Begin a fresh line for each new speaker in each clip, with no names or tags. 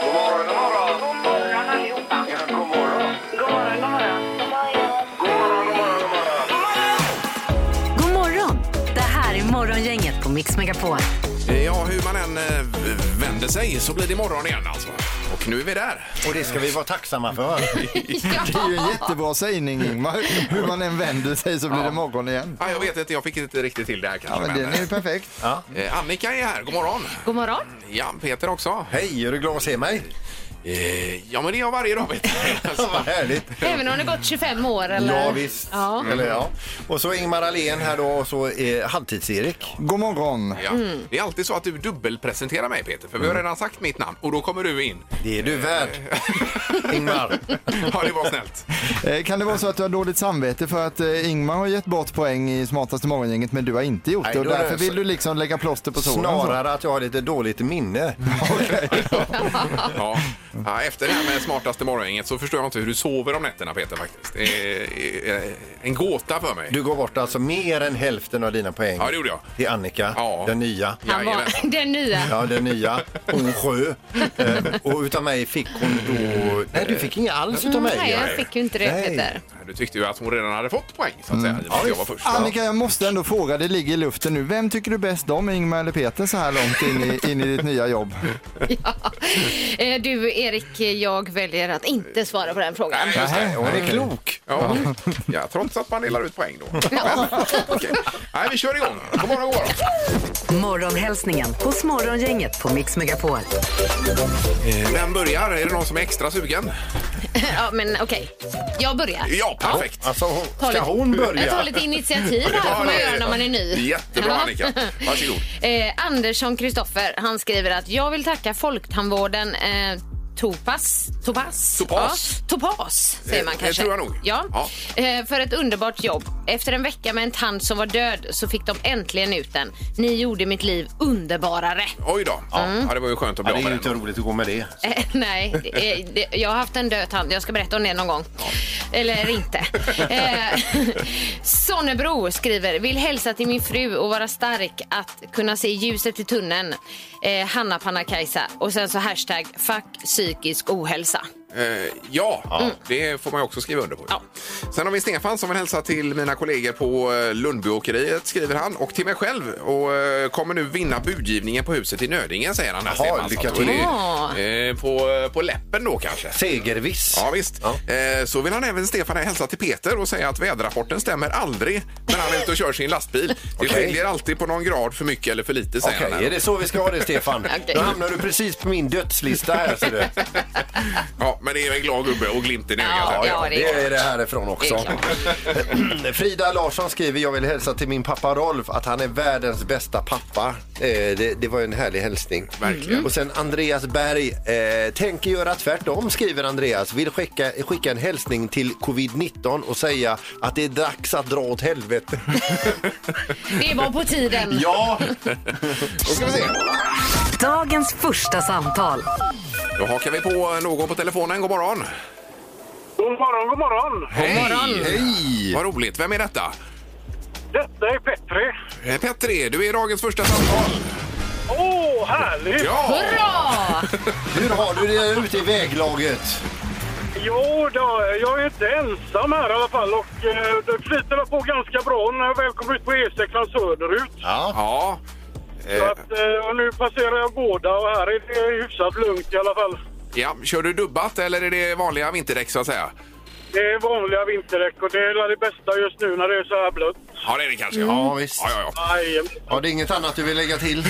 God morgon, god morgon.
God morgon allihopa.
Ja, god morgon.
God morgon, god morgon.
God morgon, god morgon, god morgon.
God morgon! Det här är Morgongänget på Mix Megapol.
Ja, hur man än eh, vänder sig så blir det morgon igen alltså. Och nu är vi där.
Och det ska vi vara tacksamma för.
Det är ju en jättebra sägning Ingmar. Hur man än vänder sig så blir det morgon igen.
Ah, jag vet inte, jag fick inte riktigt till det här
Ja,
kanske.
men
men,
den är ju perfekt.
eh, Annika är här, god morgon.
God morgon.
Ja, Peter också.
Hej, är du glad att se mig?
Eh, ja, men det är jag varje dag Peter.
Vad
Alltså,
härligt.
Även om det gått 25 år eller?
Ja, visst.
Ja.
Eller, ja. Och så Ingmar Ahlén här då och så eh, Halvtids-Erik.
God morgon.
ja. Det är alltid så att du dubbelpresenterar mig Peter, för vi har redan sagt mitt namn och då kommer du in.
Det är du värd, Ingmar.
ja, det var snällt.
Eh, Kan det vara så att du har dåligt samvete för att eh, Ingmar har gett bort poäng i Smartaste morgongänget men du har inte gjort
Nej,
det och
då är det
därför
så-
vill du liksom lägga plåster på såren? så.
Snarare att jag har lite dåligt minne.
Ja. Ja, efter det här med smartaste morgongänget så förstår jag inte hur du sover om nätterna Peter faktiskt. Det är eh, en gåta för mig.
Du går bort alltså mer än hälften av dina poäng.
Ja, det gjorde jag.
Till Annika,
Ja.
den nya.
Han var den nya.
Ja, den nya. Hon sjö. Eh, och utav mig fick hon då... Nej, du fick inga alls utav mig.
Nej, jag fick ju inte det
Nej.
Peter.
Du tyckte ju att hon redan hade fått poäng så att säga. i och med att jag var först.
Annika, jag måste ändå fråga, det ligger i luften nu. Vem tycker du bäst om, Ingmar eller Peter, så här långt in i, in i ditt nya jobb?
Ja. Eh, Du Erik, jag väljer att inte svara på den frågan.
Nej, just det.
Hon är klok.
Ja. ja, trots att man delar ut poäng då. Men, okej. Nej, vi kör igång. God morgon, god morgon.
Morgonhälsningen hos Morgongänget på Mix Megapol.
Eh, Vem börjar? Är det någon som är extra sugen?
Ja, men okej. Jag börjar.
Ja, perfekt.
Alltså, hon-
Ta
ska
lite-
hon
Jag tar
börja?
lite initiativ
Ja,
här får man
det-
göra när man är ny.
Jättebra,
Ja.
Annika. Varsågod.
Eh, Andersson Kristoffer, han skriver att jag vill tacka Folktandvården eh, Topas, Topas,
Topas.
Ja, Topas säger
Eh,
man
det
kanske.
tror jag nog.
Ja.
Ja.
Eh, för ett underbart jobb. Efter en vecka med en tand som var död så fick de äntligen ut den. Ni gjorde mitt liv underbarare.
Oj då. Ja, det var ju skönt att bli
Ja, det
av
är ju
med
inte
den.
roligt att gå med det.
Eh, Nej, det är- det- jag har haft en död tand. Jag ska berätta om det någon gång. Eller inte. Eh, Sonnebro skriver, vill hälsa till min fru och vara stark att kunna se ljuset i tunneln. Eh, Hanna Panna-Kajsa. Och sen så hashtag fuck psykisk ohälsa.
Eh, Ja, det får man ju också skriva under på.
Ja.
Sen har vi Stefan som vill hälsa till mina kollegor på eh, Lundbyåkeriet, skriver han, och till mig själv. Och eh, kommer nu vinna budgivningen på huset i Nödingen, säger han. här,
Jaha,
Stefan. Så
lycka
att då är det,
Ja.
eh, På, på läppen då kanske.
Segerviss.
Ja visst. Eh, så vill han även Stefan hälsa till Peter och säga att väderrapporten stämmer aldrig när han är ute och kör sin lastbil. Det
Okej.
skiljer alltid på någon grad för mycket eller för lite säger
Okej,
han. här.
är det så vi ska ha det Stefan?
Okej.
Då hamnar du precis på min dödslista här ser du.
Ja, men det är en glad gubbe och glimten i ögat. här.
Ja, det är
det är det härifrån också.
Det
Frida Larsson skriver, jag vill hälsa till min pappa Rolf att han är världens bästa pappa. Eh, det, det var ju en härlig hälsning. Mm.
Verkligen.
Och sen Andreas Berg, eh, tänker göra tvärtom skriver Andreas. Vill skicka, skicka en hälsning till covid-19 och säga att det är dags att dra åt helvete.
Det var på tiden.
ja,
Då ska vi se.
Dagens första samtal.
Då hakar vi på någon på telefonen. God morgon.
God morgon, god morgon!
Hej! Hej! Vad roligt. Vem är detta?
Detta är Petri.
Eh, Petri, du är dagens första samtal.
Åh, härligt!
Ja!
Bra!
hur har du det ute i väglaget?
Jo, då, jag är inte ensam här i alla fall och eh, det flyter väl på ganska bra när jag väl kommer ut på E6 söderut.
Ja.
Ja.
Så
Eh,
att, eh, och nu passerar jag båda och här är det hyfsat lugnt i alla fall.
ja. Kör du dubbat eller är det vanliga vinterdäck så att säga?
Det är vanliga vinterdäck och det är väl det bästa just nu när det är så här blött.
Ja, det är det kanske.
Ja, visst.
Ja, ja, ja.
Nej,
Har det inget annat du vill lägga till?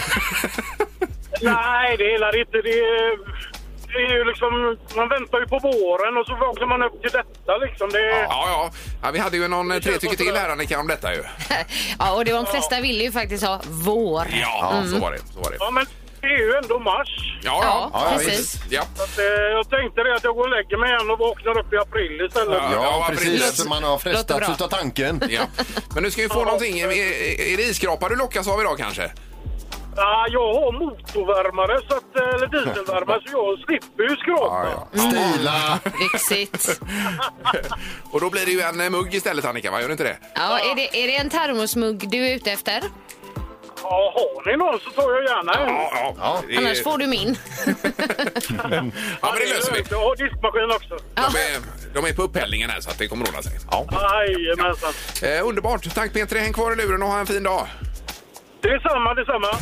nej det gillar inte. Det är, det är ju liksom, man väntar ju på våren och så vaknar man upp till detta liksom. Det är,
Ja, ja. ja vi hade ju någon eh, tre
känns
tycker
som
till
det.
här Annika om detta ju.
Ja, och det var de flesta ville ju faktiskt ha vår.
Ja, så var det. Så var det.
ja, men det är ju ändå mars.
Ja, ja.
Ja,
ja,
precis.
visst. Ja.
Eh, Jag tänkte det att jag går och lägger mig igen och vaknar upp i april istället.
Ja.
Ja, precis.
precis.
Man har
Låter bra.
frestats av tanken.
Ja. Men du ska ju få någonting. Är, är det iskrapa du lockas av idag kanske?
Ah, jag har motorvärmare, så att, eh, eller dieselvärmare, så jag slipper ju skrapa.
Stila.
Lyxigt.
Och då blir det ju en eh, mugg istället Annika, va? Gör det inte det?
Ja, är det, är det en termosmugg du är ute efter?
Ja, Ja, har ni någon så tar jag gärna en.
Ja, ja.
Ja.
Det är-
Annars får du min.
Ja, men det löser vi.
Jag har diskmaskin också.
De är, de är på upphällningen här så att det kommer ordna sig. Ja.
Jajamensan.
Eh, underbart. Tack Petri, häng kvar i luren och ha en fin dag.
Detsamma, detsamma.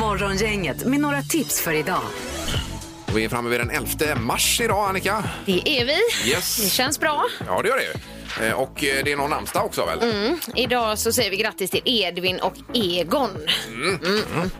Morgongänget med några tips för idag.
Och vi är framme vid den 11 mars idag, Annika.
Det är vi.
Yes.
Det känns bra.
Ja, det gör det ju. Eh, Och eh, det är någon namnsdag också väl?
Idag så säger vi grattis till Edvin och Egon.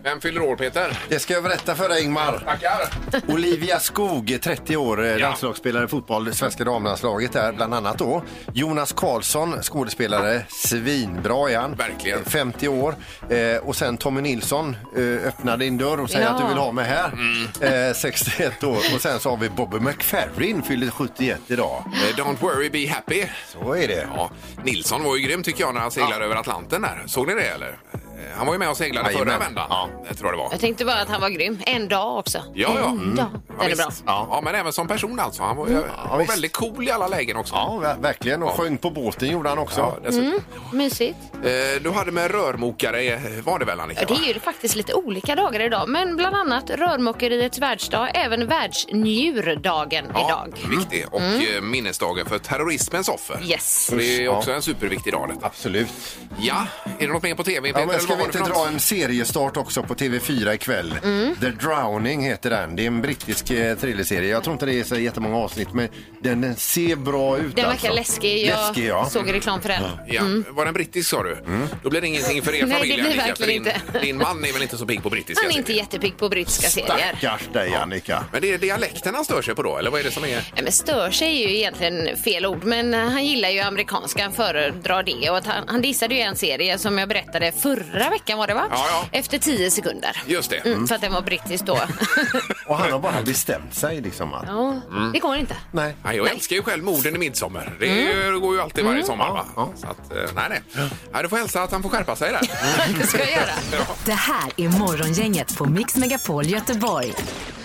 Vem fyller år Peter? Eh,
Det ska jag berätta för dig Ingmar.
Tackar!
Olivia Skog, 30 år, eh,
Ja.
landslagsspelare i fotboll, det svenska damlandslaget där bland annat då. Jonas Karlsson, skådespelare, svinbra är han.
Verkligen.
Eh, 50 år. Eh, och sen Tommy Nilsson, eh, öppna din dörr och säg
Ja.
att du vill ha mig här.
Mm.
Eh, 61 år. Och sen så har vi Bobby McFerrin, fyller 71 idag.
Eh, Don't worry, be happy.
Så är det.
Ja, Nilsson var ju grym tycker jag när han seglade över Atlanten där. Såg ni det eller? Eh, Han var ju med och seglade förra
Jajamän.
vändan.
Ja.
Jag tror det var.
Jag tänkte bara att han var grym. En dag också.
Ja, Mm. ja.
En dag. Den är bra.
visst. Ja. men även som person alltså. Han var, var
visst.
väldigt cool i alla lägen också.
Ja, ver- verkligen. Och
Ja.
sjöng på båten gjorde han också.
Ja, dessutom.
Mysigt.
Eh, Du hade med rörmokare, eh, var det väl Annika?
Ja, det
va?
är ju faktiskt lite olika dagar idag, men bland annat rörmokeriets världsdag, även världsnjurdagen idag. Mm.
Viktig. Och eh, minnesdagen för terrorismens offer.
Yes.
Så det är också
Ja.
en superviktig dag detta.
Absolut.
Ja, är det något mer på tv?
Ja,
Peter,
men
eller
ska
vad
vi
var det
inte
för
dra
något?
en seriestart också på TV4 ikväll? The Drowning heter den. Det är en brittisk eh, thrillerserie. Jag tror inte det är så jättemånga avsnitt, men den, den ser bra ut.
Den
alltså.
verkar läskig. Jag
Läskig, ja.
såg reklam för den.
Ja, Var den brittisk sa du?
Mm.
Då blir det ingenting för er
Mm. Nej, det
familj
blir
Annika, för
verkligen
din,
inte.
din man är väl inte så pigg på brittiska
Han är inte
serier?
jättepigg på brittiska serier.
Stackars dig, Annika.
Men det är dialekten han stör sig på då, eller vad är det som är...
Nej, men stör sig är ju egentligen fel ord, men eh, han gillar ju amerikanska, han föredrar det. Och att han, han dissade ju en serie som jag berättade förra veckan var det va?
Ja, ja.
Efter tio sekunder.
Just det.
Mm, för att den var brittisk då.
Och han har bara bestämt sig liksom att...
ja,
Mm.
Det går inte.
Nej.
Ja, jag älskar ju själv morden i midsommar. Det
Mm.
är ju- går ju alltid varje sommar. Va? Så att, eh, nej, nej. Ja, du får hälsa att han får skärpa sig där.
det ska jag göra.
Det här är Morgongänget på Mix Megapol Göteborg.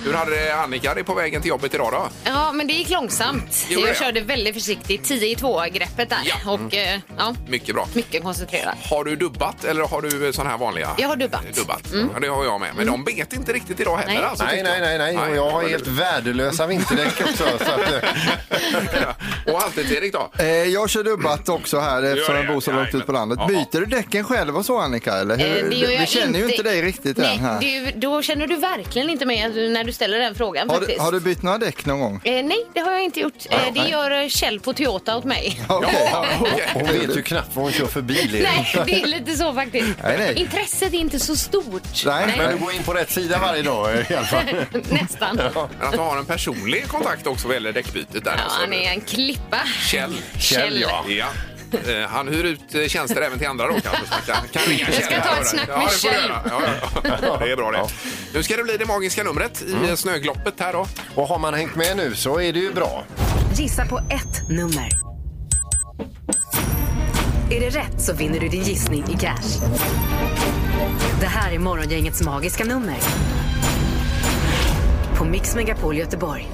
Hur hade det, Annika det på vägen till jobbet idag då?
Ja, men det gick långsamt.
Gjorde
jag
det?
körde väldigt försiktigt, 10 i 2-greppet där.
Ja. Mm.
Och eh, ja,
Mycket bra.
mycket koncentrerat.
Har du dubbat eller har du eh, sån här vanliga? Eh,
Jag har dubbat. Mm.
dubbat. Ja, det har jag med. Men de bet inte riktigt idag heller.
Nej.
Alltså,
Nej,
tyckte
nej, nej, nej. Och jag har helt värdelösa vinterdäck också. Så att, eh,
och alltid Erik då?
Eh, jag kör dubbat också här eftersom
det,
jag bor så
ja.
långt ut på landet.
Ja.
Byter du däcken själv och så Annika? Eller hur?
Eh, det gör
vi
jag
känner ju inte dig riktigt
Nej,
än här.
Du, då känner du verkligen inte mig när du ställer den frågan
Har du,
faktiskt.
har du bytt några däck någon gång?
Eh, nej, det har jag inte gjort. Eh, det gör eh, Kjell på Toyota åt mig.
Okej.
hon vet ju knappt vad hon kör för bil. Erik.
nej, det är lite så faktiskt.
Nej, nej.
Intresset är inte så stort.
Nej,
Men du går in på rätt sida varje dag eh, i alla fall.
Nästan. Ja,
Men att du har en personlig kontakt också vad gäller däckbytet där. alltså.
han är en klippa.
Kjell.
Kjell, ja.
ja. Eh, Han hyr ut eh, tjänster även till andra då kanske. så att jag Kan ringa
Jag ska
Kjell här
ta ett
och där. ja,
snack med
det får du
Kjell.
göra. Ja, ja. Det är bra det. Nu ska det bli det magiska numret i
Mm.
eh, snögloppet här då.
Och har man hängt med nu så är det ju bra.
Gissa på ett nummer. Är det rätt så vinner du din gissning i cash. Det här är Morgongängets magiska nummer. På Mix Megapol Göteborg.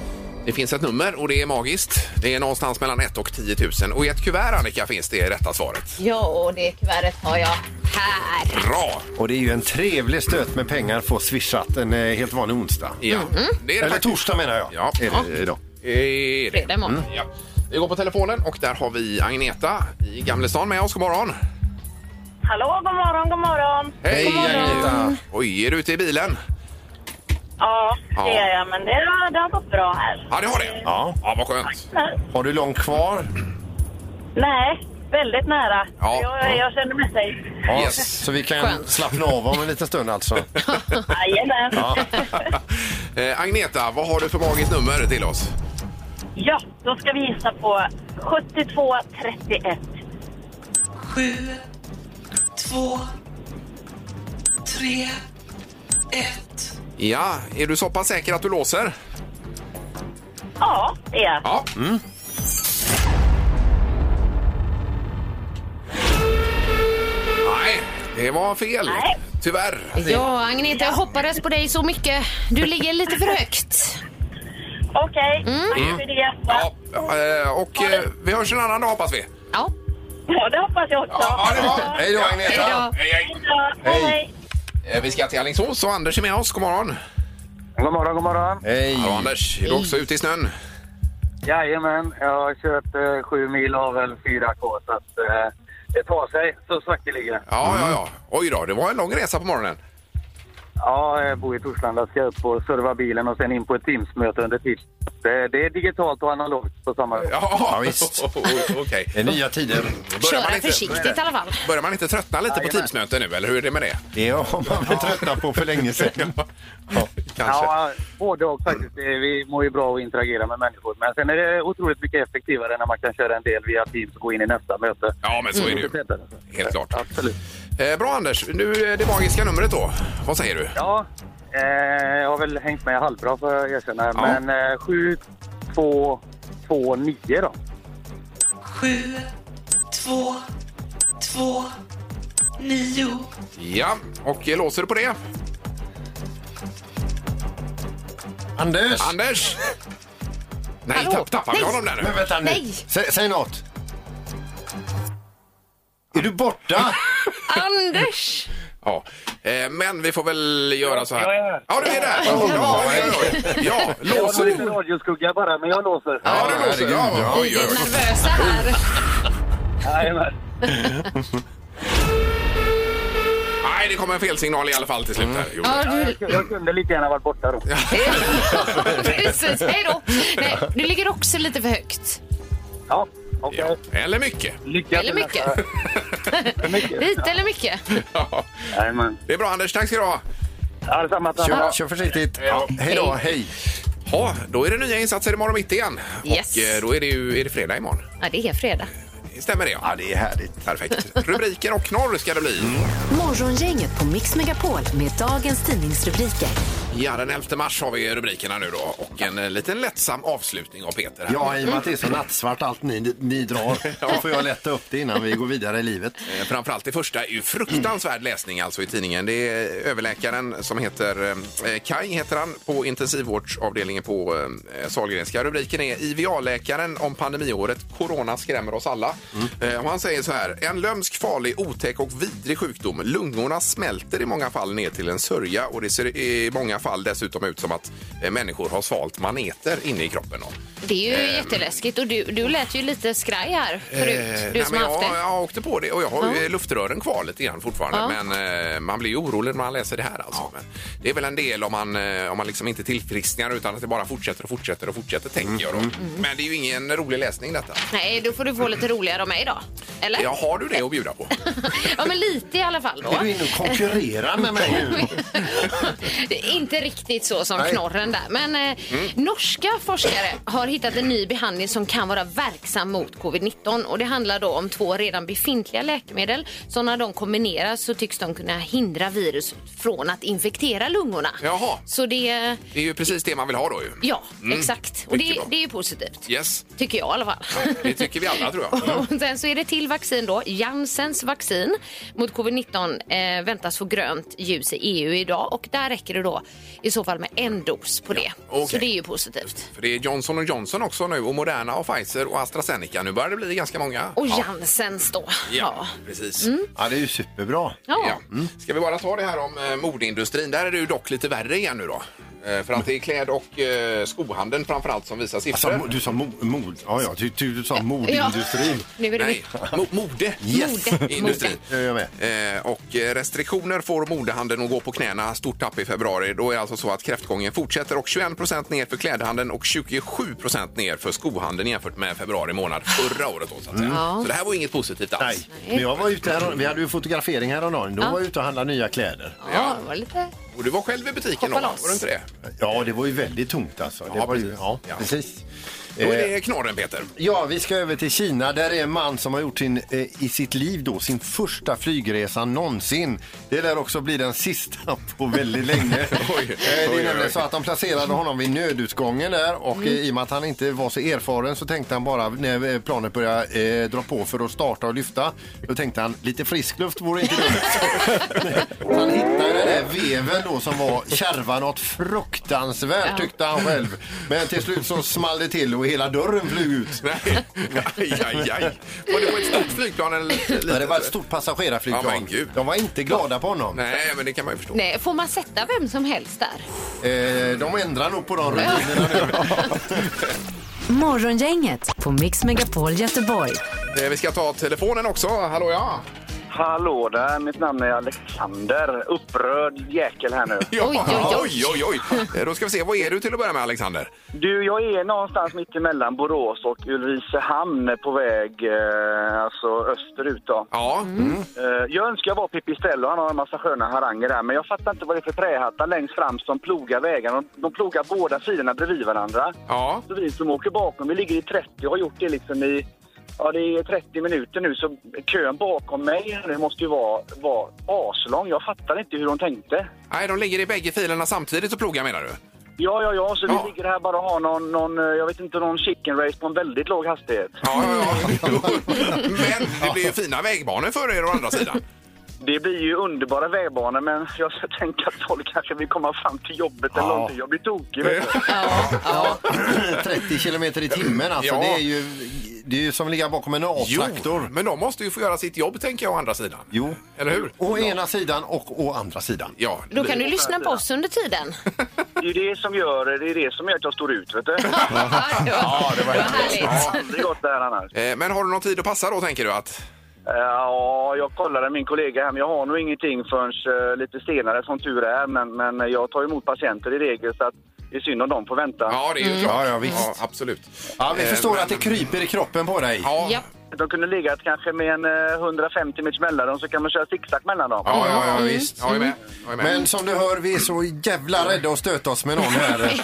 Det finns ett nummer och det är magiskt. Det är någonstans mellan 1 och 10 000. Och i ett kuvert Annika finns det rätta svaret.
Ja, och det kuvertet har jag här.
Bra!
Och det är ju en trevlig stöt med pengar få swishat en eh, helt vanlig onsdag.
Ja, det är det
Eller
faktiskt.
torsdag menar jag.
Ja.
Är det idag.
Är det.
Fredag imorgon.
Ja. Vi går på telefonen och där har vi Agneta i Gamlestan med oss. God morgon!
Hallå, god morgon, god morgon.
Hej
Agneta.
Oj, är du ute i bilen?
Ja,
Ja.
det är jag, men det har, det har gått bra här.
Ja, det har det.
Ja.
Ja, vad skönt.
Har du långt kvar?
Nej, väldigt nära.
Ja.
Jag, jag känner mig safe.
Ja.
Yes.
Så vi kan
Skönt.
slappna av om en liten stund alltså.
Jajamän. Ja.
Eh, Agneta, vad har du för magiskt nummer till oss?
ja, då ska vi gissa på 7231.
Ja, är du så pass säker att du låser?
Ja, det är jag.
Ja. Mm. Nej, det var fel.
Nej.
Tyvärr.
Ja, Agneta, jag hoppades på dig så mycket. Du ligger lite för högt.
Okej, tack för det.
Mm. Ja, eh, och eh, vi hörs en annan dag hoppas vi.
Ja,
Ja, det hoppas jag också.
Ja, det var.
Hej då Agneta!
hej då.
Hej, hej.
Hej då.
Hej.
Hej.
Eh, Vi ska till Alingsås och Anders är med oss. God morgon!
God morgon, god morgon.
Hej!
Hallå Anders, är du också ute i snön?
Jajamän, jag har kört eh, sju mil avel 4K så att eh, det tar sig så sakteliga.
Ja, ja, ja. Oj då, det var en lång resa på morgonen.
Ja, jag bor i Torslanda, ska upp och serva bilen och sen in på ett Teams-möte under tid. Det, det är digitalt och analogt på samma gång.
Ja,
Ja, visst.
Okej.
Det är nya tider.
Börjar man
Köra
inte-
försiktigt i alla fall.
Börjar man inte tröttna lite på
Jajamän.
Teamsmöten nu, eller hur är det med det?
Det har man väl tröttnat på för länge sedan.
Kanske.
Ja, både och faktiskt. Eh, Vi mår ju bra att interagera med människor. Men sen är det otroligt mycket effektivare när man kan köra en del via Teams och gå in i nästa möte.
Ja, men så är det ju.
Lite tätare.
Helt klart.
Absolut.
Eh, bra Anders, nu eh, det magiska numret då. Vad säger du?
Ja, eh, jag har väl hängt med halvbra får jag erkänna. Men eh, 7, 2, 2, 9 då.
Ja, och eh, låser du på det?
Anders!
Anders! Nej,
Hallå?
tapp, tappar vi
Nej.
honom där nu?
Men vänta nu.
Nej.
Sä, säg något. Är du borta?
Anders!
Ja. Eh, men vi får väl göra så här.
jag är här.
Ja, du är där! Ja, oj, oj, oj. ja låser
lite
du?
radioskugga bara, men jag låser.
Ja, du låser. Ja,
Vi
oj,
är
oj, oj.
nervösa här.
Jajamän.
Nej, det kom en felsignal i alla fall till slut. Här. Jo.
Ja, du,
Jag kunde lika gärna varit borta då.
precis. Hej då. Nej, du ligger också lite för högt.
Ja, okej.
Ja. Eller mycket.
Lycka
Eller mycket.
mycket.
Lite eller mycket.
Ja.
Jajamän.
Det är bra Anders, tack ska du ha.
Ja, detsamma.
Kör, kör försiktigt. Ja, hej då, hej.
Ja, då är det nya insatser imorgon mitt igen.
Yes.
Och eh, då är det ju är det fredag imorgon.
Ja, det är fredag.
Stämmer det? Ja, det är härligt. Mm. Perfekt. Rubriker och knorr ska det bli.
Morgongänget på Mix Megapol med dagens tidningsrubriker.
Ja, den 11 mars har vi rubrikerna nu då och en eh, liten lättsam avslutning av Peter. här.
Ja, i och med att det är så nattsvart allt ni, ni drar, då får jag lätta upp det innan vi går vidare i livet.
Eh, Framförallt det första är ju fruktansvärd läsning alltså i tidningen. Det är överläkaren som heter eh, Kai heter han på intensivvårdsavdelningen på eh, Sahlgrenska. Rubriken är IVA-läkaren om pandemiåret. Corona skrämmer oss alla. Eh, och han säger så här. En lömsk, farlig, otäck och vidrig sjukdom. Lungorna smälter i många fall ner till en sörja och det ser i många fall dessutom ut som att eh, människor har svalt maneter inne i kroppen. Då.
Det
Ehm.
är ju jätteläskigt och du, du lät ju lite skraj här förut.
Eh,
Du
Ehm, nej,
som
men
har haft
jag,
det.
jag åkte på det och jag har ju
Ja.
luftrören kvar lite grann fortfarande.
Ja.
Men eh, man blir ju orolig när man läser det här alltså. Men det är väl en del om man, eh, om man liksom inte tillfrisknar utan att det bara fortsätter och fortsätter och fortsätter tänker jag då. Men det är ju ingen rolig läsning detta.
Mm, Nej, då får du få lite roligare av mig då. Eller?
Ja, har du det att bjuda på?
Ja, men lite i alla fall. Då.
Är du inne och konkurrerar med mig nu?
Det är Inte riktigt så som
Nej.
knorren där. Men eh,
Mm.
norska forskare har hittat en ny behandling som kan vara verksam mot covid-19. Och det handlar då om två redan befintliga läkemedel. Så när de kombineras så tycks de kunna hindra virus från att infektera lungorna.
Jaha.
Så det,
Det är ju precis det man vill ha då ju.
ja exakt. Och
Mycket
det,
bra.
det är ju positivt.
Yes,
Tycker jag i alla fall.
det tycker vi alla tror jag. Mm.
Och sen så är det till vaccin då. Janssens vaccin mot covid-19 eh, väntas få grönt ljus i EU idag och där räcker det då i så fall med en dos på det.
okej.
Så det är ju positivt.
För det är Johnson Johnson också nu och Moderna och Pfizer och AstraZeneca. Nu börjar det bli ganska många.
Och Janssens då.
Ja, precis.
Ja, det är ju superbra.
Ja.
Ja.
Mm.
Ska vi bara ta det här om eh, modeindustrin? Där är det ju dock lite värre igen nu då. Eh, För att det är kläd och eh, skohandeln framförallt som visar
Alltså,
siffror.
mo- du sa mo- mod. Ja, ja, du, du, du sa modindustrin.
Nu är det
Nej, mo- mode.
Yes.
Mode.
Industrin.
Jag är med.
Eh, och eh, restriktioner får modehandeln att gå på knäna. Stort tapp i februari. Då är det alltså så att kräftgången fortsätter och 21 ner för klädhandeln och 27 ner för skohandeln jämfört med februari månad förra året. Då, så, att säga.
Ja.
så det här var inget positivt alls.
Mm. Nej, men jag var ute här, vi hade ju fotografering häromdagen. Då var jag ute och handlade nya kläder.
Ja, det var lite...
Och du var själv i butiken
Hoppa
då,
loss.
var du inte det?
Ja, det var ju väldigt tomt alltså. Det
Ja,
var ju,
precis.
ja,
Ja.
precis.
Då
Eh,
är det knorren, Peter.
Ja, vi ska över till Kina. Där är en man som har gjort sin, eh, i sitt liv då, sin första flygresa någonsin. Det lär också bli den sista på väldigt länge.
Oj,
Eh,
oj,
det
oj. Mm.
är nämligen så att de placerade honom vid nödutgången där och eh, i och med att han inte var så erfaren så tänkte han bara när eh, planet började eh, dra på för att starta och lyfta. Då tänkte han lite frisk luft vore inte dumt. han hittade den där veven då som var kärva något fruktansvärt tyckte han själv. Men till slut så small det till och hela dörren flög ut.
Nej, aj, aj, aj. Var det på ett stort flygplan eller litet?
Det var ett stort
Ja,
passagerarflygplan.
men gud.
de var inte glada på honom.
Nej, men det kan man ju förstå.
Nej, får man sätta vem som helst där?
Eh, de ändrar nog på de rutinerna nu.
Morgongänget på Mix Megapol Göteborg.
Eh, Vi ska ta telefonen också. Hallå, ja.
Hallå där, mitt namn är Alexander. Upprörd jäkel här nu.
ja.
Oj, oj,
oj, oj, oj. Eh, Då ska vi se, vad är du till att börja med Alexander?
Du, jag är någonstans mitt emellan Borås och Ulricehamn på väg eh, alltså österut. Då.
Ja,
Mm.
Eh, jag önskar jag var Pipistrello, han har en massa sköna haranger där. Men jag fattar inte vad det är för trähattar längst fram som plogar vägarna. De, de plogar båda sidorna bredvid varandra.
ja.
Så vi som åker bakom, vi ligger i 30 och har gjort det liksom i Ja, det är 30 minuter nu, så kön bakom mig det måste ju vara, vara aslång. Jag fattar inte hur de tänkte.
Nej, de ligger i bägge filerna samtidigt och plogar menar du?
Ja, ja, ja, så
Ja.
vi ligger här bara och har någon, någon, eh, jag vet inte, någon chicken race på en väldigt låg hastighet.
Ja, ja, ja. Men det blir ju fina vägbanor för er å andra sidan.
Det blir ju underbara vägbanor, men jag tänker att folk kanske vill komma fram till jobbet eller någonting. Jag blir tokig, vet du.
Ja, 30 kilometer i timmen alltså.
Ja.
Det, är ju, det är ju som att ligga bakom en
Jo,
A-traktor.
men de måste ju få göra sitt jobb tänker jag å andra sidan.
Jo.
Eller hur?
Å ena sidan och å andra sidan.
Ja.
Då kan du lyssna på oss under tiden.
Det är ju det som gör, det är det som gör att jag står ut, vet du.
Ja, det var,
härligt.
härligt.
Jag har aldrig gått där annars.
Eh, Men har du någon tid att passa då tänker du att?
Ja, jag kollade min kollega här, men jag har nog ingenting förrän eh, lite senare som tur är. Men, men jag tar emot patienter i regel, så att det är synd om de får vänta.
Ja, det är ju
Mm.
klart.
Ja, ja, visst.
absolut.
Ja, vi
Eh,
förstår
men-
att det kryper i kroppen på dig.
Ja, ja,
Ja.
De kunde legat kanske med en eh, 150 meters mellanrum, så kan man köra zigzag mellan dem.
ja, ja, ja visst. Jag är med. Jag är med.
Men som du hör, vi är så jävla rädda att stöta oss med någon här.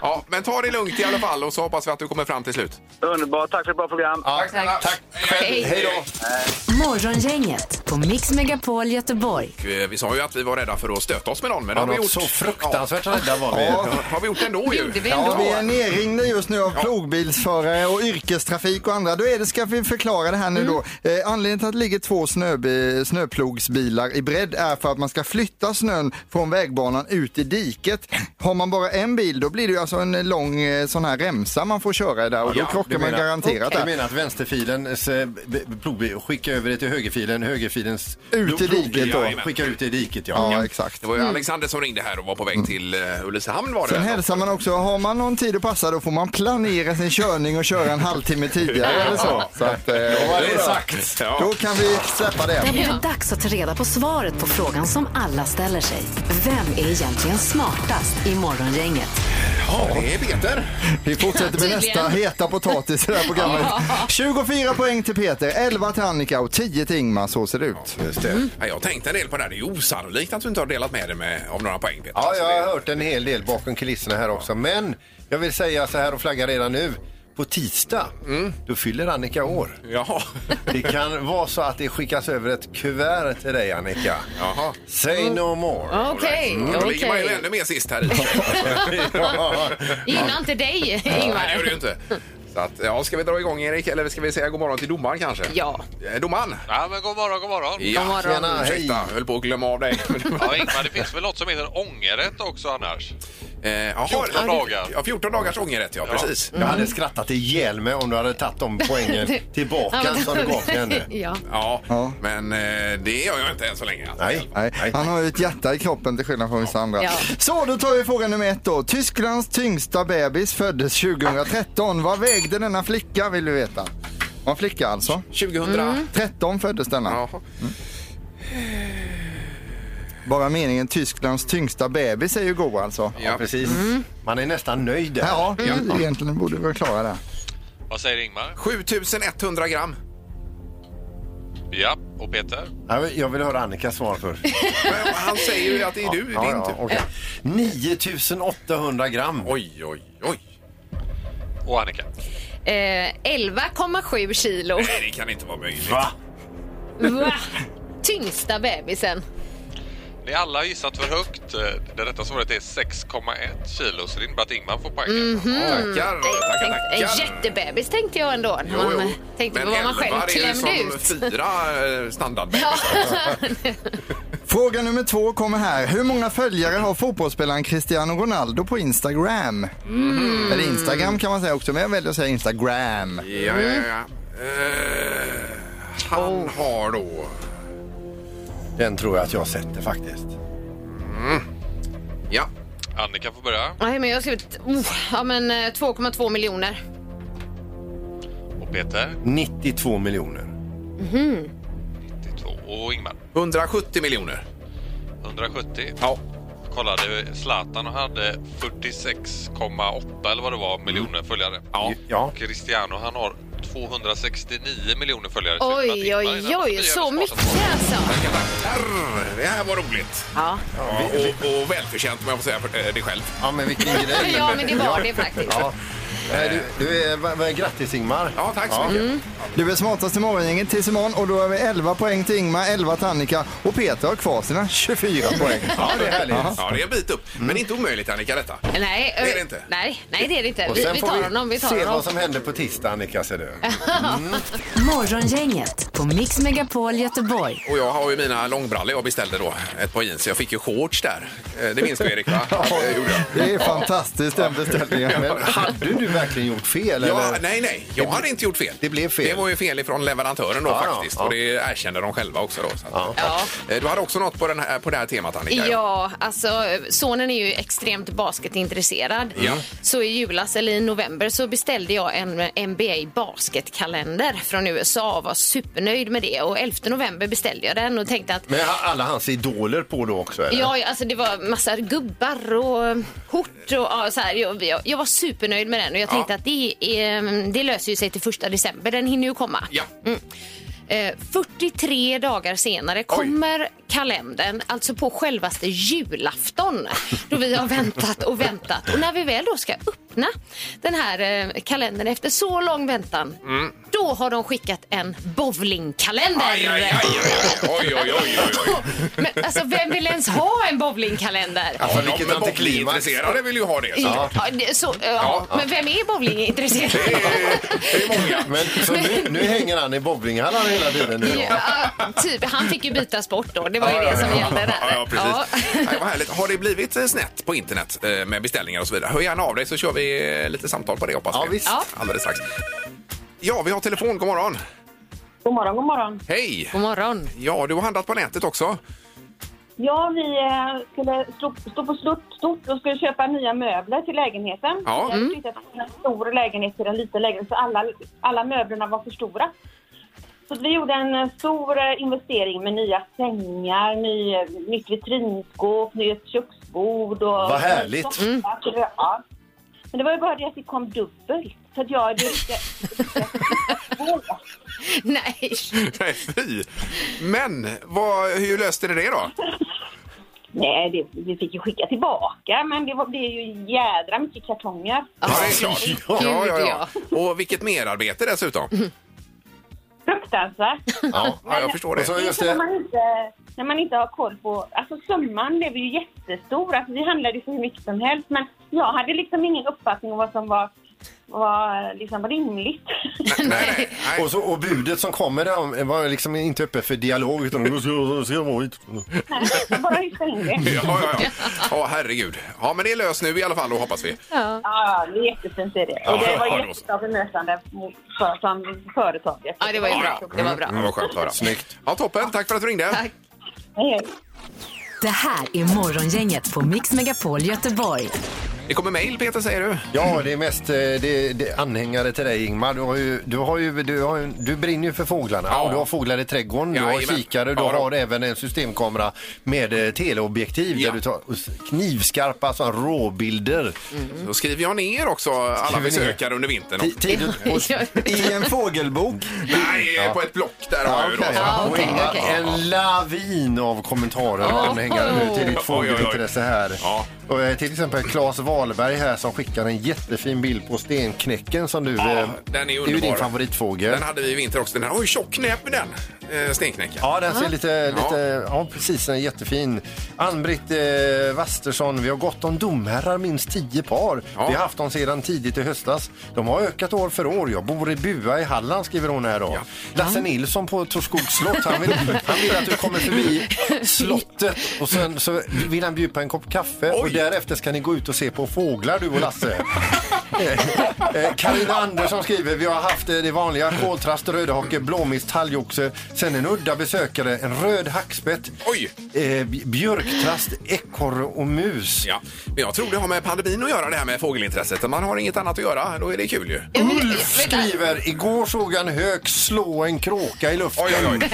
Ja, men ta det lugnt i alla fall och så hoppas vi att du kommer fram till slut.
Underbart, tack för ett bra program.
Ja,
Tack.
Tack.
Hej.
Hej då.
Morgongänget på Mix Megapol Göteborg.
Och, eh, Vi sa ju att vi var rädda för att stöta oss med någon, men det
Ja,
har vi
något
gjort.
så fruktansvärt rädda var vi.
Ja, har vi gjort ändå
Det
ju.
gjorde vi
Ja, vi
ändå.
är nerringda just nu av plogbilsförare och yrkestrafik och andra. Då är det, ska vi förklara det här nu då. Eh, anledningen till att det ligger två snöbi, snöplogsbilar i bredd är för att man ska flytta snön från vägbanan ut i diket. Har man bara en bil då blir det ju alltså en lång eh, sån här remsa man får köra i där och då
Ja,
krockar
du
man
menar-
garanterat
Du
där.
menar att vänsterfilens eh, b- plogbil skickar över det till högerfilen, högerfilens
Ut i
plogbil
diket då.
skickar ut i diket, ja.
Ja, exakt.
Det var ju Alexander som ringde här och var på väg till eh, Ulricehamn var det
Sen
väl?
hälsar man också, har man någon tid att passa då får man planera sin körning och köra en halvtimme tidigare eller så. så att, eh,
Vad är det
Ja.
sagt?
då
Ja.
kan vi släppa det.
Det har blivit dags att ta reda på svaret på frågan som alla ställer sig. Vem är egentligen smartast i Morgongänget?
ja, det är Peter.
Vi fortsätter med
Tydligen.
nästa heta potatis i det här programmet. 24 poäng till Peter, 11 till Annika och 10 till Ingmar. Så ser det ut.
Just det. Mm. Ja, jag tänkte en del på det här. Det är ju osannolikt att du inte har delat med dig med, av några poäng, Peter.
Ja,
Alltså,
jag
det-
har hört en hel del bakom kulisserna här också. Men jag vill säga så här och flagga redan nu. På tisdag,
Mm.
då fyller Annika år.
Jaha.
Det kan vara så att det skickas över ett kuvert till dig, Annika.
Jaha.
Say no more.
Okej,
Mm, Då ligger man ju
okej.
ännu mer sist här i.
Gynnar inte dig,
Nej, det gör det ju
Ingvar.
inte. Så att, ja, ska vi dra igång, Erik, eller ska vi säga god morgon till domaren kanske?
Ja.
Eh, Domaren!
Ja, men god morgon, god morgon.
Ja,
morgon.
Tjena, hej.
ursäkta, höll på att glömma av dig.
Ja, Ingmar, det finns väl något som heter ångerrätt också annars?
Eh, jaha,
14 dagar.
Ja, 14 dagars ångerrätt, ja, precis.
Jag hade skrattat ihjäl mig om du hade tagit de poängen tillbaka som du gav till henne.
Ja.
Ja,
Ja.
men eh, det gör jag inte än så länge. Alltså.
Nej.
Nej, han har ju ett hjärta i kroppen till skillnad från vissa andra.
Ja.
Så, då tar vi fråga nummer ett då. Tysklands tyngsta bebis föddes 2013. Vad vägde denna flicka vill du veta? Var en flicka alltså.
2000...
Mm.
13 föddes denna.
Jaha.
Bara meningen Tysklands tyngsta bebis är ju god alltså.
Ja, precis.
mm.
Man är nästan nöjd där.
Ja, egentligen borde vi klara det.
Vad säger Ingmar?
7100 gram.
Ja, och Peter?
Ja, men Jag vill höra Annikas svar först.
Men han säger ju att det är du, det
Ja,
är
ja,
inte...
okej. 9800 gram.
Oj, oj, oj.
Och Annika?
Eh, 11,7 kilo.
Nej, det kan inte vara möjligt.
Va?
Va? Tyngsta bebisen.
Ni alla har gissat för högt. Eh, Det rätta svaret är 6,1 kilo, så det innebär att Ingmar får poängen.
Mhm.
Tackar, tackar,
Mm. Tänk, en
tackar.
jättebebis tänkte jag ändå. när
Jo,
man
jo.
Tänkte
Men
på vad man själv
elvar är ju
klämde
som
ut.
fyra eh, standardbebisar.
Ja.
Fråga nummer två kommer här. Hur många följare har fotbollsspelaren Cristiano Ronaldo på Instagram? Eller Instagram kan man säga också, men jag väljer att säga Instagram.
Ja, ja, ja. Eh, han har då...
Den tror jag att jag sätter faktiskt.
Ja.
Annika får börja.
Nej, men jag har skrivit oh, ja, men, eh, 2,2 miljoner.
Och Peter,
92 miljoner.
92. Och Ingmar,
170 miljoner.
170.
Ja.
Kollade Zlatan och hade 46,8 eller vad det var miljoner följare.
Mm. Ja.
Ja.
Cristiano han har 269 miljoner följare. Så det
Oj,
innebär att Ingmar
oj,
är
oj.
den
Så
som är smartast.
mycket alltså.
Herr, det här var roligt.
Ja.
Ja, och, och välförtjänt om jag får säga för- eh, det själv.
Ja, men vilken grej.
ja, men det var det faktiskt.
Ja. Eh, Du, du är, va- va- grattis Ingmar.
Ja, Mm. tack så mycket.
Du är smartast i morgongänget tills imorgon och då är vi 11 poäng till Ingmar, 11 till Annika och Peter har kvar sina 24 poäng.
Ja, det är härligt. Mm. Ja, det är en bit upp. Men inte omöjligt, Annika, detta.
Nej,
är det
eh,
inte.
Nej, nej, det är det inte.
Och
Vi,
sen
vi
får
tar honom. Vi tar
se
honom.
vad som händer på tisdag Annika ser du.
Morgongänget på Mix Megapol Göteborg.
Och jag har ju mina långbrallor jag beställde då. Ett par jeans. Jag fick ju shorts där. Eh, Det minns du Erik va? Eh, Det gjorde jag.
Det är fantastiskt den beställningen.
Men hade du verkligen gjort fel?
Ja,
eller?
nej, nej. Jag hade inte gjort fel. Ah,
det blev fel.
Det var ju fel ifrån leverantören då
Ja, ja,
faktiskt.
ja.
Och det erkände de själva också då. Så att,
Ja.
Eh, Du hade också något på, den här, på det här temat Annika.
Ja, alltså sonen är ju extremt basketintresserad.
Ja.
Så i julas, eller i november, så beställde jag en NBA basketkalender från USA och var supernöjd med det. Och 11 november beställde jag den och tänkte att
Men har alla hans idoler på då också? Eller?
Ja, alltså det var massa gubbar och kort och ja, så här. Jag, jag, jag var supernöjd med den och jag tänkte
Ja.
att det, är, det löser ju sig till första december. Den hinner ju komma.
Ja.
Eh, 43 dagar senare kommer kalendern, alltså på självaste julafton. Då vi har väntat och väntat. Och när vi väl då ska öppna den här eh, kalendern efter så lång väntan, då har de skickat en bowlingkalender.
Mm. Aj, aj, aj, aj, aj. Oj, oj, oj, oj, oj.
Men alltså vem vill ens ha en bowlingkalender?
Alltså,
Ja,
vilket
men
antiklimax.
bowlingintresserade vill ju ha det. Så.
Ja. det, så, eh, ja.
Ja.
Men vem är bowlingintresserad?
Det är många.
Men, så nu, nu hänger han i bowlinghallen hela tiden nu då.
Ja, typ, han fick ju bytas bort då. Det var ju det som gällde där.
Ja, ja, precis. Nej, vad härligt. Har det blivit eh, snett på internet eh, med beställningar och så vidare? Hör gärna av dig så kör vi eh, lite samtal på det hoppas
Ja,
vi.
visst.
Ja.
Alldeles strax. Ja, vi har telefon. God morgon.
God morgon, god morgon.
Hej!
God morgon.
Ja, du har handlat på nätet också.
Ja, vi eh, skulle stå, stå på stort, stort och skulle köpa nya möbler till lägenheten. Eh,
Ja.
Vi hade flyttat från en stor lägenhet till en liten lägenhet så alla, alla möblerna var för stora. Så vi gjorde en eh, stor eh, investering med nya sängar, ny, nytt vitrinskåp, nytt köksbord och...
Vad härligt.
Ja. Men det var ju bara det att det kom dubbelt. Så att jag... Det, det,
Nej.
Nej, fy! Men vad, hur löste ni det då?
Nej, det, vi fick ju skicka tillbaka, men det, var, det är ju jädra mycket kartonger.
Ja, det är klart.
Ja.
Ja, ja, ja. Och vilket merarbete dessutom.
Fruktansvärt.
Ja.
Ja, jag förstår
Och så
det.
just
När
det,
man, inte, när man inte har koll på... Alltså summan blev ju jättestor. Alltså, vi handlade ju för hur mycket som helst, men jag hade liksom ingen uppfattning om vad som var, var liksom rimligt.
Nej, nej.
och, så, och budet som kommer där var liksom inte öppet för dialog utan då ska jag- ska jag vara hit.
Jag bara hyfsade in det.
Ja, ja, ja. ja, herregud. Ja, men det är löst nu i alla fall då, hoppas vi.
Ja, det är jättefint. Det, är det. Och det
Ja,
var
det var så.
jättebra bemötande för, från företaget.
Ja, det var ju bra. Det var bra.
Mm, vad skönt att höra.
Snyggt.
Ja, toppen. Tack för att du ringde.
Tack.
Hej, hej.
Det här är Morgongänget på Mix Megapol Göteborg.
Det kommer mejl, Peter, säger du.
Ja, det är mest eh, det, det är anhängare till dig Ingmar. Du, har ju, du, har ju, du, har ju, du brinner ju för fåglarna.
Ja.
Och du har fåglar i trädgården, du har
Jajamän.
kikare, du
Ja, då.
har även en systemkamera med eh, teleobjektiv
Ja.
där du tar knivskarpa alltså, råbilder.
Då skriver jag ner också alla
Skriver ner.
besökare under vintern.
Ti- Tid och,
Ja.
I en fågelbok.
Nej, på ett block där har jag ju då.
Okej.
Ja, okej,
Och Ingmar,
okej.
En lavin av kommentarer kommer hänga nu till ditt fågelintresse här.
Ja.
Och, eh, till exempel Claes Wahlberg här som skickar en jättefin bild på stenknäcken som du... eh,
den är
Det är ju
underbar.
din favoritfågel.
Den hade vi i vinter också. Den här, oj, tjock näbb den. eh, stenknäcka.
Ja, den ser lite, lite ja precis, den är jättefin. Ann-Britt eh, Wastersson, vi har gott om domherrar, minst tio par.
Ja.
Vi har haft dem sedan tidigt i höstas. De har ökat år för år. Jag bor i Bua i Halland, skriver hon här då.
Ja.
Lasse Nilsson på Torskogs slott, han vill, han vill att du kommer förbi slottet och sen så vill han bjuda på en kopp kaffe och
Oj.
därefter ska ni gå ut och se på fåglar du och Lasse. Eh, eh, Carina Andersson skriver, vi har haft eh, det vanliga koltrast, rödhake, blåmist, talgoxe, sen en udda besökare, en röd hackspett,
Oj!
eh, b- björktrast, ekorre och mus.
Ja. Men jag tror det har med pandemin att göra det här med fågelintresset. Om Man har inget annat att göra, då är det kul ju.
Ulf skriver, igår såg jag en hök slå en kråka i luften.
Oj, oj, oj.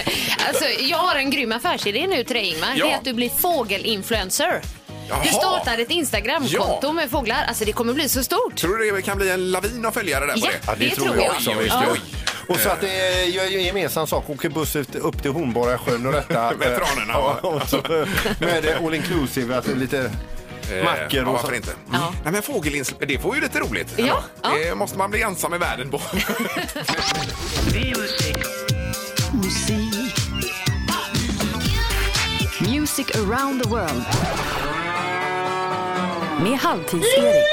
Alltså, jag har en grym affärsidé nu till dig Ingmar.
Ja.
Det är att du blir fågelinfluencer.
Jaha.
Du startar ett Instagramkonto
Ja.
med fåglar. Alltså det kommer bli så stort.
Tror du det kan bli en lavin av följare där på
Ja,
det?
det tror jag.
Oj, oj,
Oj, oj, oj.
Och så att det gör ju gemensam sak, åker buss ut, upp till Hornborga sjön och detta.
Veteranerna.
Ja, och så, med eh, all inclusive, alltså lite
Eh,
mackor
ja,
och
varför
så. Mm.
inte?
Ja.
Nej, men fågelins... Det var ju lite roligt. Alltså,
Ja,
Det måste man bli ensam i världen på.
Music around the world. Med Halvtids-Erik.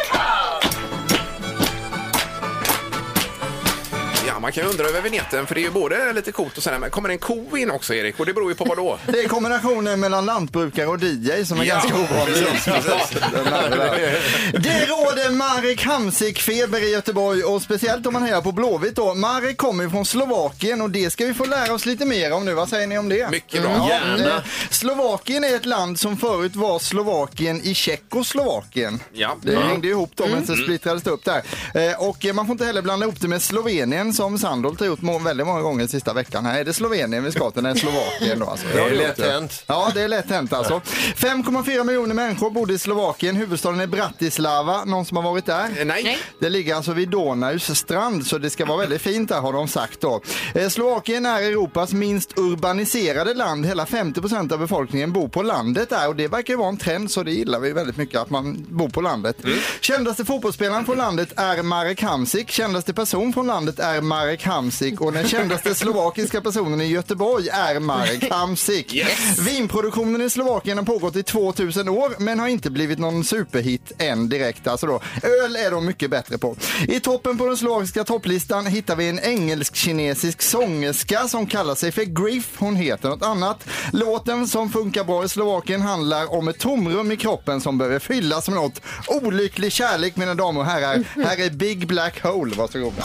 ja, man kan ju undra över vignetten för det är ju både lite coolt och sen men kommer en ko in också Erik och det beror ju på vad då?
Det är kombinationen mellan lantbrukare och DJ som är
Ja,
ganska ovanlig.
precis, precis.
Den här, den här. Det råder Marek Hamsik-feber i Göteborg och speciellt om man hejar på Blåvitt då. Marek kommer ju från Slovakien och det ska vi få lära oss lite mer om nu. Vad säger ni om det?
Mycket bra.
Ja, eh, Slovakien är ett land som förut var Slovakien i Tjeckoslovakien.
Ja. Mm.
Det hängde ihop då men så splittrades det upp där. Eh, Och eh, man får inte heller blanda ihop det med Slovenien som Sandholt har gjort må- väldigt många gånger sista veckan. Här är det Slovenien vi ska till, nej Slovakien då alltså.
Det är lätt hänt.
Ja, det är lätt hänt alltså. 5,4 miljoner människor bodde i Slovakien. Huvudstaden är Bratislava. Någon som har varit där?
Eh, Nej.
Nej.
Det ligger alltså vid Donaus strand så det ska vara väldigt fint där har de sagt då. Eh, Slovakien är Europas minst urbaniserade land. Hela 50 av befolkningen bor på landet där och det verkar ju vara en trend så det gillar vi väldigt mycket att man bor på landet. Kändaste fotbollsspelaren från landet är Marek Hamsik. Kändaste person från landet är Marek Hamsik och den kändaste slovakiska personen i Göteborg är Marek Hamsik.
Yes.
Vinproduktionen i Slovakien har pågått i 2000 år men har inte blivit någon superhit än direkt. Alltså då. Öl är de mycket bättre på. I toppen på den slovakiska topplistan hittar vi en engelsk-kinesisk sångerska som kallar sig för Griff. Hon heter något annat. Låten som funkar bra i Slovakien handlar om ett tomrum i kroppen som behöver fyllas med något. Olycklig kärlek mina damer och herrar. Här är Big Black Hole. Varsågoda.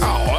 Ja,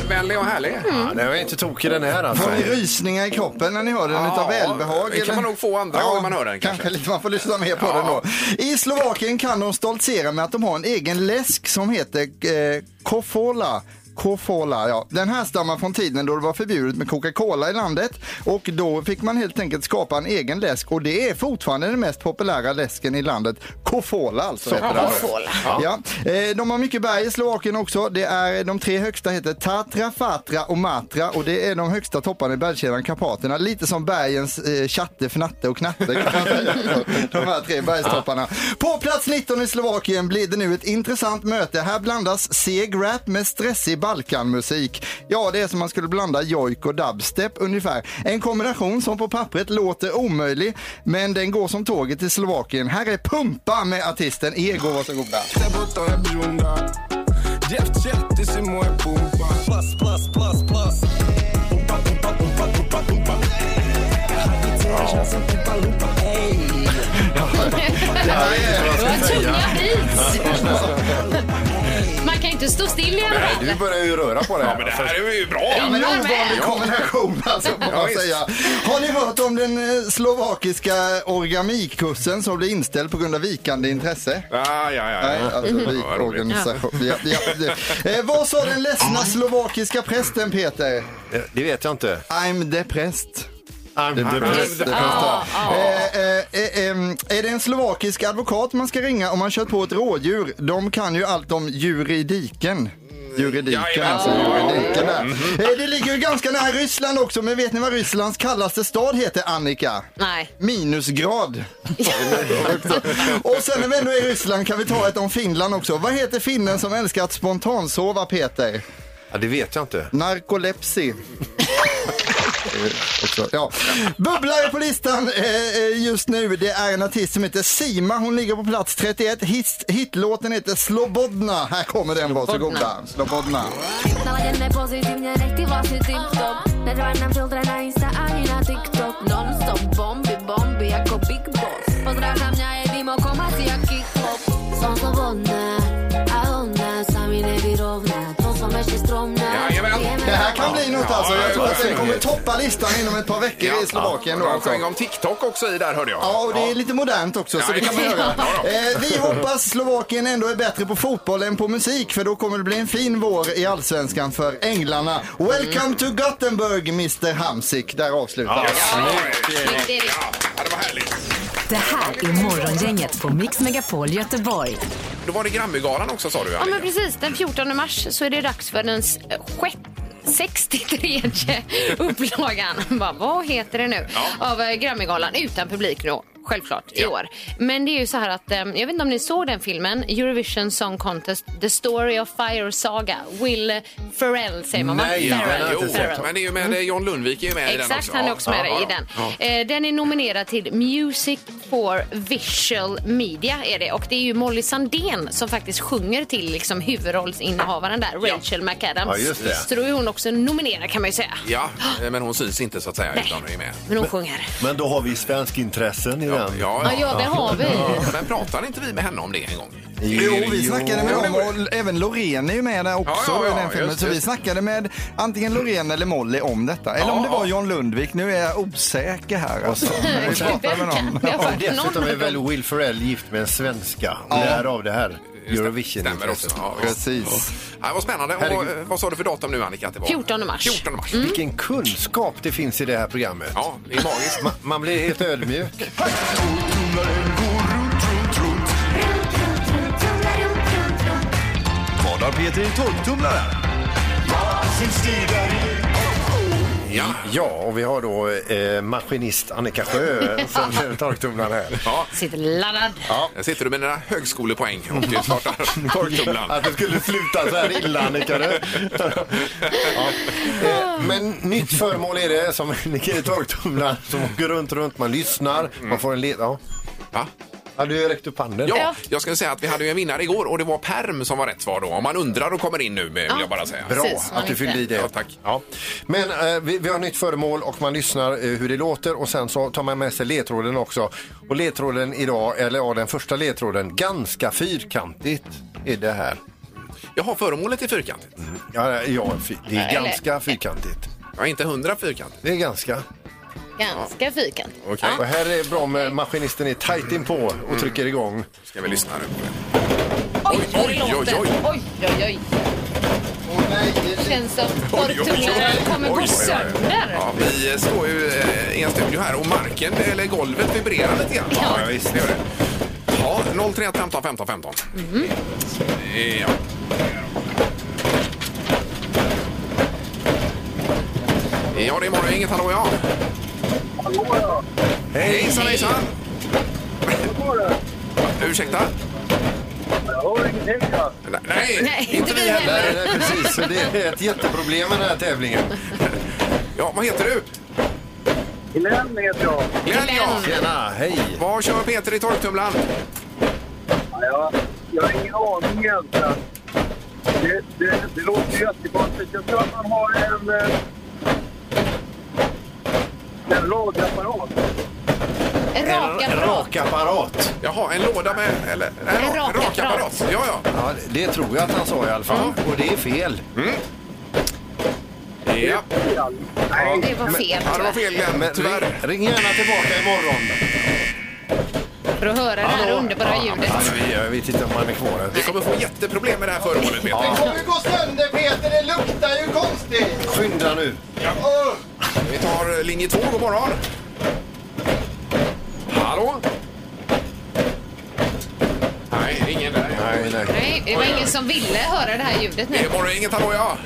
trallvänlig och härlig.
Ja, den var inte tokig den här alltså.
Får ni rysningar i kroppen när ni hör den utav välbehag?
det kan man nog få andra gången man hör den, kanske.
lite, man får lyssna mer på den då. I Slovakien kan de stoltsera med att de har en egen läsk som heter eh, Kofola. Kofola, ja. Den härstammar från tiden då det var förbjudet med Coca-Cola i landet och då fick man helt enkelt skapa en egen läsk och det är fortfarande den mest populära läsken i landet. Kofola alltså. heter den. Ja. Eh, De har mycket berg i Slovakien också. Det är de tre högsta heter Tatra, Fatra och Matra och det är de högsta topparna i bergskedjan Karpaterna. Lite som bergens eh, Tjatte, Fnatte och Knatte kan man säga. De här tre bergstopparna. På plats 19 i Slovakien blir det nu ett intressant möte. Här blandas seg rap med stressig Balkanmusik. Ja, det är som man skulle blanda jojk och dubstep ungefär. En kombination som på pappret låter omöjlig men den går som tåget till Slovakien. Här är Pumpa med artisten Ego, varsågoda.
Vad tunga beats! Man kan ju inte stå still i alla fall.
Du börjar ju röra på det
Ja, men det här är ju bra.
Ja, men
Ingmar
ovanlig
med.
kombination alltså, får
Ja,
man
visst.
säga. Har ni hört om den eh, slovakiska origamikursen som blev inställd på grund av vikande intresse?
Ja, ja,
Nej,
ja.
alltså
Ja, vad roligt.
vikorganisation. Ja, ja, det. eh, vad sa den ledsna slovakiska prästen Peter?
Det- Det vet jag inte.
I'm depressed.
I'm the best.
Det första. Eh, eh, eh, ehm, Är det en slovakisk advokat man ska ringa om man kört på ett rådjur? De kan ju allt om juridiken. Juridiken
Jajamän.
alltså.
Ja.
Juridiken där. Eh, Det ligger ju ganska nära Ryssland också, men vet ni vad Rysslands kallaste stad heter, Annika?
Nej.
Minusgrad. och sen när vi ändå är i Ryssland kan vi ta ett om Finland också. Vad heter finnen som älskar att spontansova, Peter?
Ja, det vet jag inte.
Narkolepsi. Eh, också, ja. Bubblare på listan eh, eh, just nu, det är en artist som heter Sima. Hon ligger på plats 31. Hit, hitlåten heter Slobodna. Här kommer den, varsågoda. Slobodna.
Naladěné pozitivně, nech ty vlasy tip-top Nedávej nám filtre na Insta ani na TikTok Non-stop bomby, bomby jako Big Boss Pozdrav na mňa je mimo komaci, jaký chlop Som slobodná a ona sa mi nevyrovná To som ešte stromná
Jajamän.
Det här kan bli något alltså.
Ja,
Jag tror
ja,
att den
ja.
kommer toppa listan inom ett par veckor i Slovakien. Då,
De
alltså.
sjöng om TikTok också i där hörde jag.
Ja, och det är lite modernt också.
Ja,
så det kan man
det-
göra.
Ja, då.
Eh, vi hoppas Slovakien ändå är bättre på fotboll än på musik för då kommer det bli en fin vår i allsvenskan för änglarna. Welcome to Gothenburg, Mr Hamsik. Där avslutar vi.
Snyggt, Erik.
Ja, det var härligt.
Det här är Morgongänget på Mix Megapol Göteborg.
Då var det Grammygalan också sa du
Ja, men
Annika.
precis. Den 14 mars så är det dags för den s- sjätte 63 upplagan. Bara, Vad heter det nu?
Ja.
Av eh, Grammygalan utan publik då. Självklart, i
Ja.
år. Men det är ju så här att, eh, jag vet inte om ni såg den filmen, Eurovision Song Contest, The Story of Fire Saga, Will Ferrell säger man va?
Nej,
Ferrell.
den har jag
Jo,
inte sett.
Ferrell.
men det är ju med John Lundvik är ju med i den också.
Mm. Exakt, han är också med
Ja,
i
ja,
den.
ja.
Eh, Den är nominerad till Music for Visual Media är det. Och det är ju Molly Sandén som faktiskt sjunger till liksom huvudrollsinnehavaren där, Rachel McAdams.
Ja, just det.
Så då är hon också nominerad kan man ju säga.
Ja, eh, men hon syns inte så att säga utan hon är med.
Men hon sjunger.
Men då har vi svensk intressen i
Ja,
den.
Ja, ja, det har vi.
Men pratade inte vi med henne om det en gång?
Jo, vi snackade med dem och även Loreen är ju med där också
Ja, ja, ja,
i den filmen.
just,
Så vi
just.
snackade med antingen Loreen eller Molly om detta. Eller
Ja,
om det var
ja.
John Lundvik. Nu är jag osäker här alltså. Men Vi pratade med
Vem kan?
någon.
Vi har
Och
fått
dessutom
någon
är
av
väl
dem.
Will Ferrell gift med en svenska. Därav det här
Stämmer också.
Eurovision-intresset.
Ja, visst.
Precis.
Ja, vad spännande. Och,
Herregud.
eh, vad sa du för datum nu Annika? Att det var?
14 mars. Mm.
14 mars.
Mm. Vilken kunskap det finns i det här programmet.
Ja, det är magiskt.
Ma- man blir helt ödmjuk.
Vad har Peter i torktumlaren?
Ja.
Ja, och vi har då eh, maskinist Annika Sjö som kör torktumlaren här.
Sitter laddad.
Där sitter du med dina högskolepoäng och du startar torktumlaren.
Att det skulle sluta så här illa, Annika. du. ja. eh, men nytt föremål är det som ligger i torktumlaren som åker runt, runt. Man lyssnar, man får en led... Ja.
Va?
ja, du räckte upp handen.
Ja, jag skulle säga att vi hade ju en vinnare igår och det var perm som var rätt svar då. Om man undrar och kommer in nu vill jag bara säga.
Bra
Precis, man
att du
inte-
fyllde i det.
Ja, tack.
Ja. Men eh, vi, vi har nytt föremål och man lyssnar eh, hur det låter och sen så tar man med sig ledtråden också. Och ledtråden idag, eller ja, den första ledtråden, ganska fyrkantigt är det här.
Jag har föremålet i fyrkantigt.
Ja, ja fy- det är
Eller-
ganska fyrkantigt.
Jag är inte hundra fyrkantigt.
Det är ganska.
Ganska fyrkantig.
Och här är det bra med maskinisten är tajt inpå
Mm.
och trycker igång.
Ska vi lyssna nu på det?
Oj, vad
oj,
det låter.
oj,
Oj, oj, oj. Känns som torktumlaren kommer gå sönder.
Ja, vi eh, står ju eh, i en studio här och marken, eller golvet vibrerar lite grann.
Ja.
ja visst det gör det. Ja, 031 15 15 15.
Mm.
Ja. Ja, det är morgon, inget hallå ja. Hej, hejsan, hejsan. Ursäkta? Nej,
Nej,
inte vi heller.
Nej, nej, precis. Så Det är ett jätteproblem med den här tävlingen.
Ja, vad heter du?
Glenn heter jag.
Glenn, ja.
Tjena, hej!
Vad kör Peter i torktumlaren?
Ja, jag har ingen aning egentligen. Det, det, det låter ju jättekonstigt. Jag tror att man har en... eh, En radioapparat.
En
En
raka
rakapparat.
Jaha, en låda med... Eller, en,
En
ra-
rakapparat.
rakapparat. Ja, ja.
Ja, det tror jag att han sa i alla fall. Och det är fel.
ja.
Nej,
Det var fel.
Ja, det var fel Glenn,
Men ring,
tyvärr.
ring gärna tillbaka imorgon.
För att höra det här underbara ljudet.
Ja, vi, jag vet inte om han är kvar än.
Vi kommer få jätteproblem med det här föremålet, Peter.
Det kommer ju gå sönder Peter, det luktar ju konstigt.
Skynda nu.
Åh.
Vi tar eh, linje två, god morgon. Hallå? Nej, ingen där.
Nej, nej.
Nej, det var ingen som ville höra det här ljudet nu.
Morgon, inget hallå ja!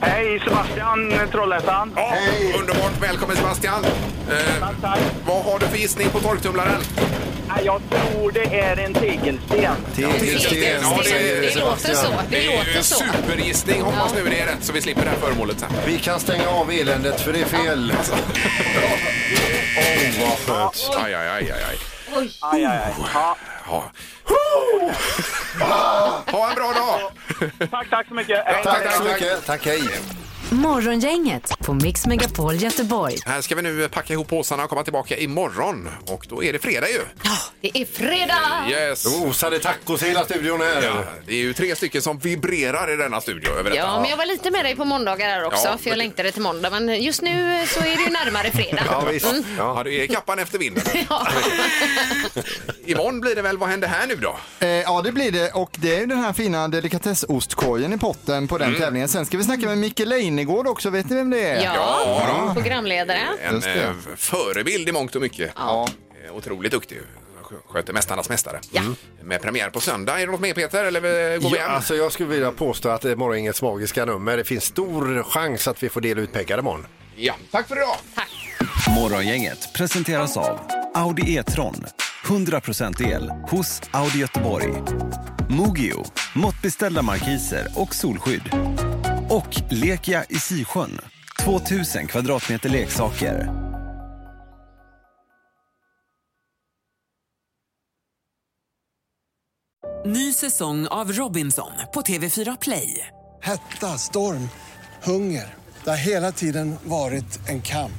Hej, Sebastian Trollhättan.
Hej. Underbart, välkommen Sebastian! Eh, tack, tack. Vad har du för gissning på torktumlaren?
Jag tror det är en tegelsten.
Tegelsten, ja,
Det låter
Sebastian.
så, det
Det är ju
låter
en
så.
supergissning. Hoppas nu det är rätt så vi slipper det här föremålet sen.
Vi kan stänga av eländet för det är fel.
Åh, vad skönt. Aj, aj, aj, aj. aj.
Oj.
Aj, aj, aj. Ja.
Ja. Ha en bra dag!
Tack, tack så mycket.
Tack så mycket. Tack, hej.
Morgongänget på Mix Megapol Göteborg.
Här ska vi nu packa ihop påsarna och komma tillbaka imorgon. Och då är det fredag ju.
Det är fredag!
Yes.
Rosade tacos i hela studion här.
Ja, det är ju tre stycken som vibrerar i denna studio över detta.
Ja, men jag var lite med dig på måndagar här också,
Ja,
för jag
men-
längtade till måndag. Men just nu eh, så är det ju närmare fredag.
Ja, visst.
Mm.
Ja, det är kappan efter vinden.
Ja.
Imorgon blir det väl, vad händer här nu då?
Eh, ja, det blir det. Och det är ju den här fina delikatessostkorgen i potten på den tävlingen. Sen ska vi snacka med Micke Leijnegård också. Vet ni vem det är?
Ja, programledare.
En
Just det.
eh, förebild i mångt och mycket.
Ja.
Eh, Otroligt duktig. Skö- Sköter Mästarnas mästare.
Ja.
Med premiär på söndag. Är det något mer Peter? Eller eh, går vi
Ja,
hem?
alltså jag skulle vilja påstå att det är morgongängets magiska nummer. Det finns stor chans att vi får dela ut pengar imorgon.
Ja. Tack för idag!
Morgongänget presenteras av Audi E-tron. 100% el hos Audi Göteborg. Mogio, måttbeställda markiser och solskydd. Och Lekia i Sisjön, 2000 kvadratmeter leksaker.
Ny säsong av Robinson på TV4 Play.
Hetta, storm, hunger. Det har hela tiden varit en kamp.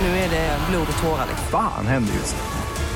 Nu är det blod och tårar.
Fan händer just det.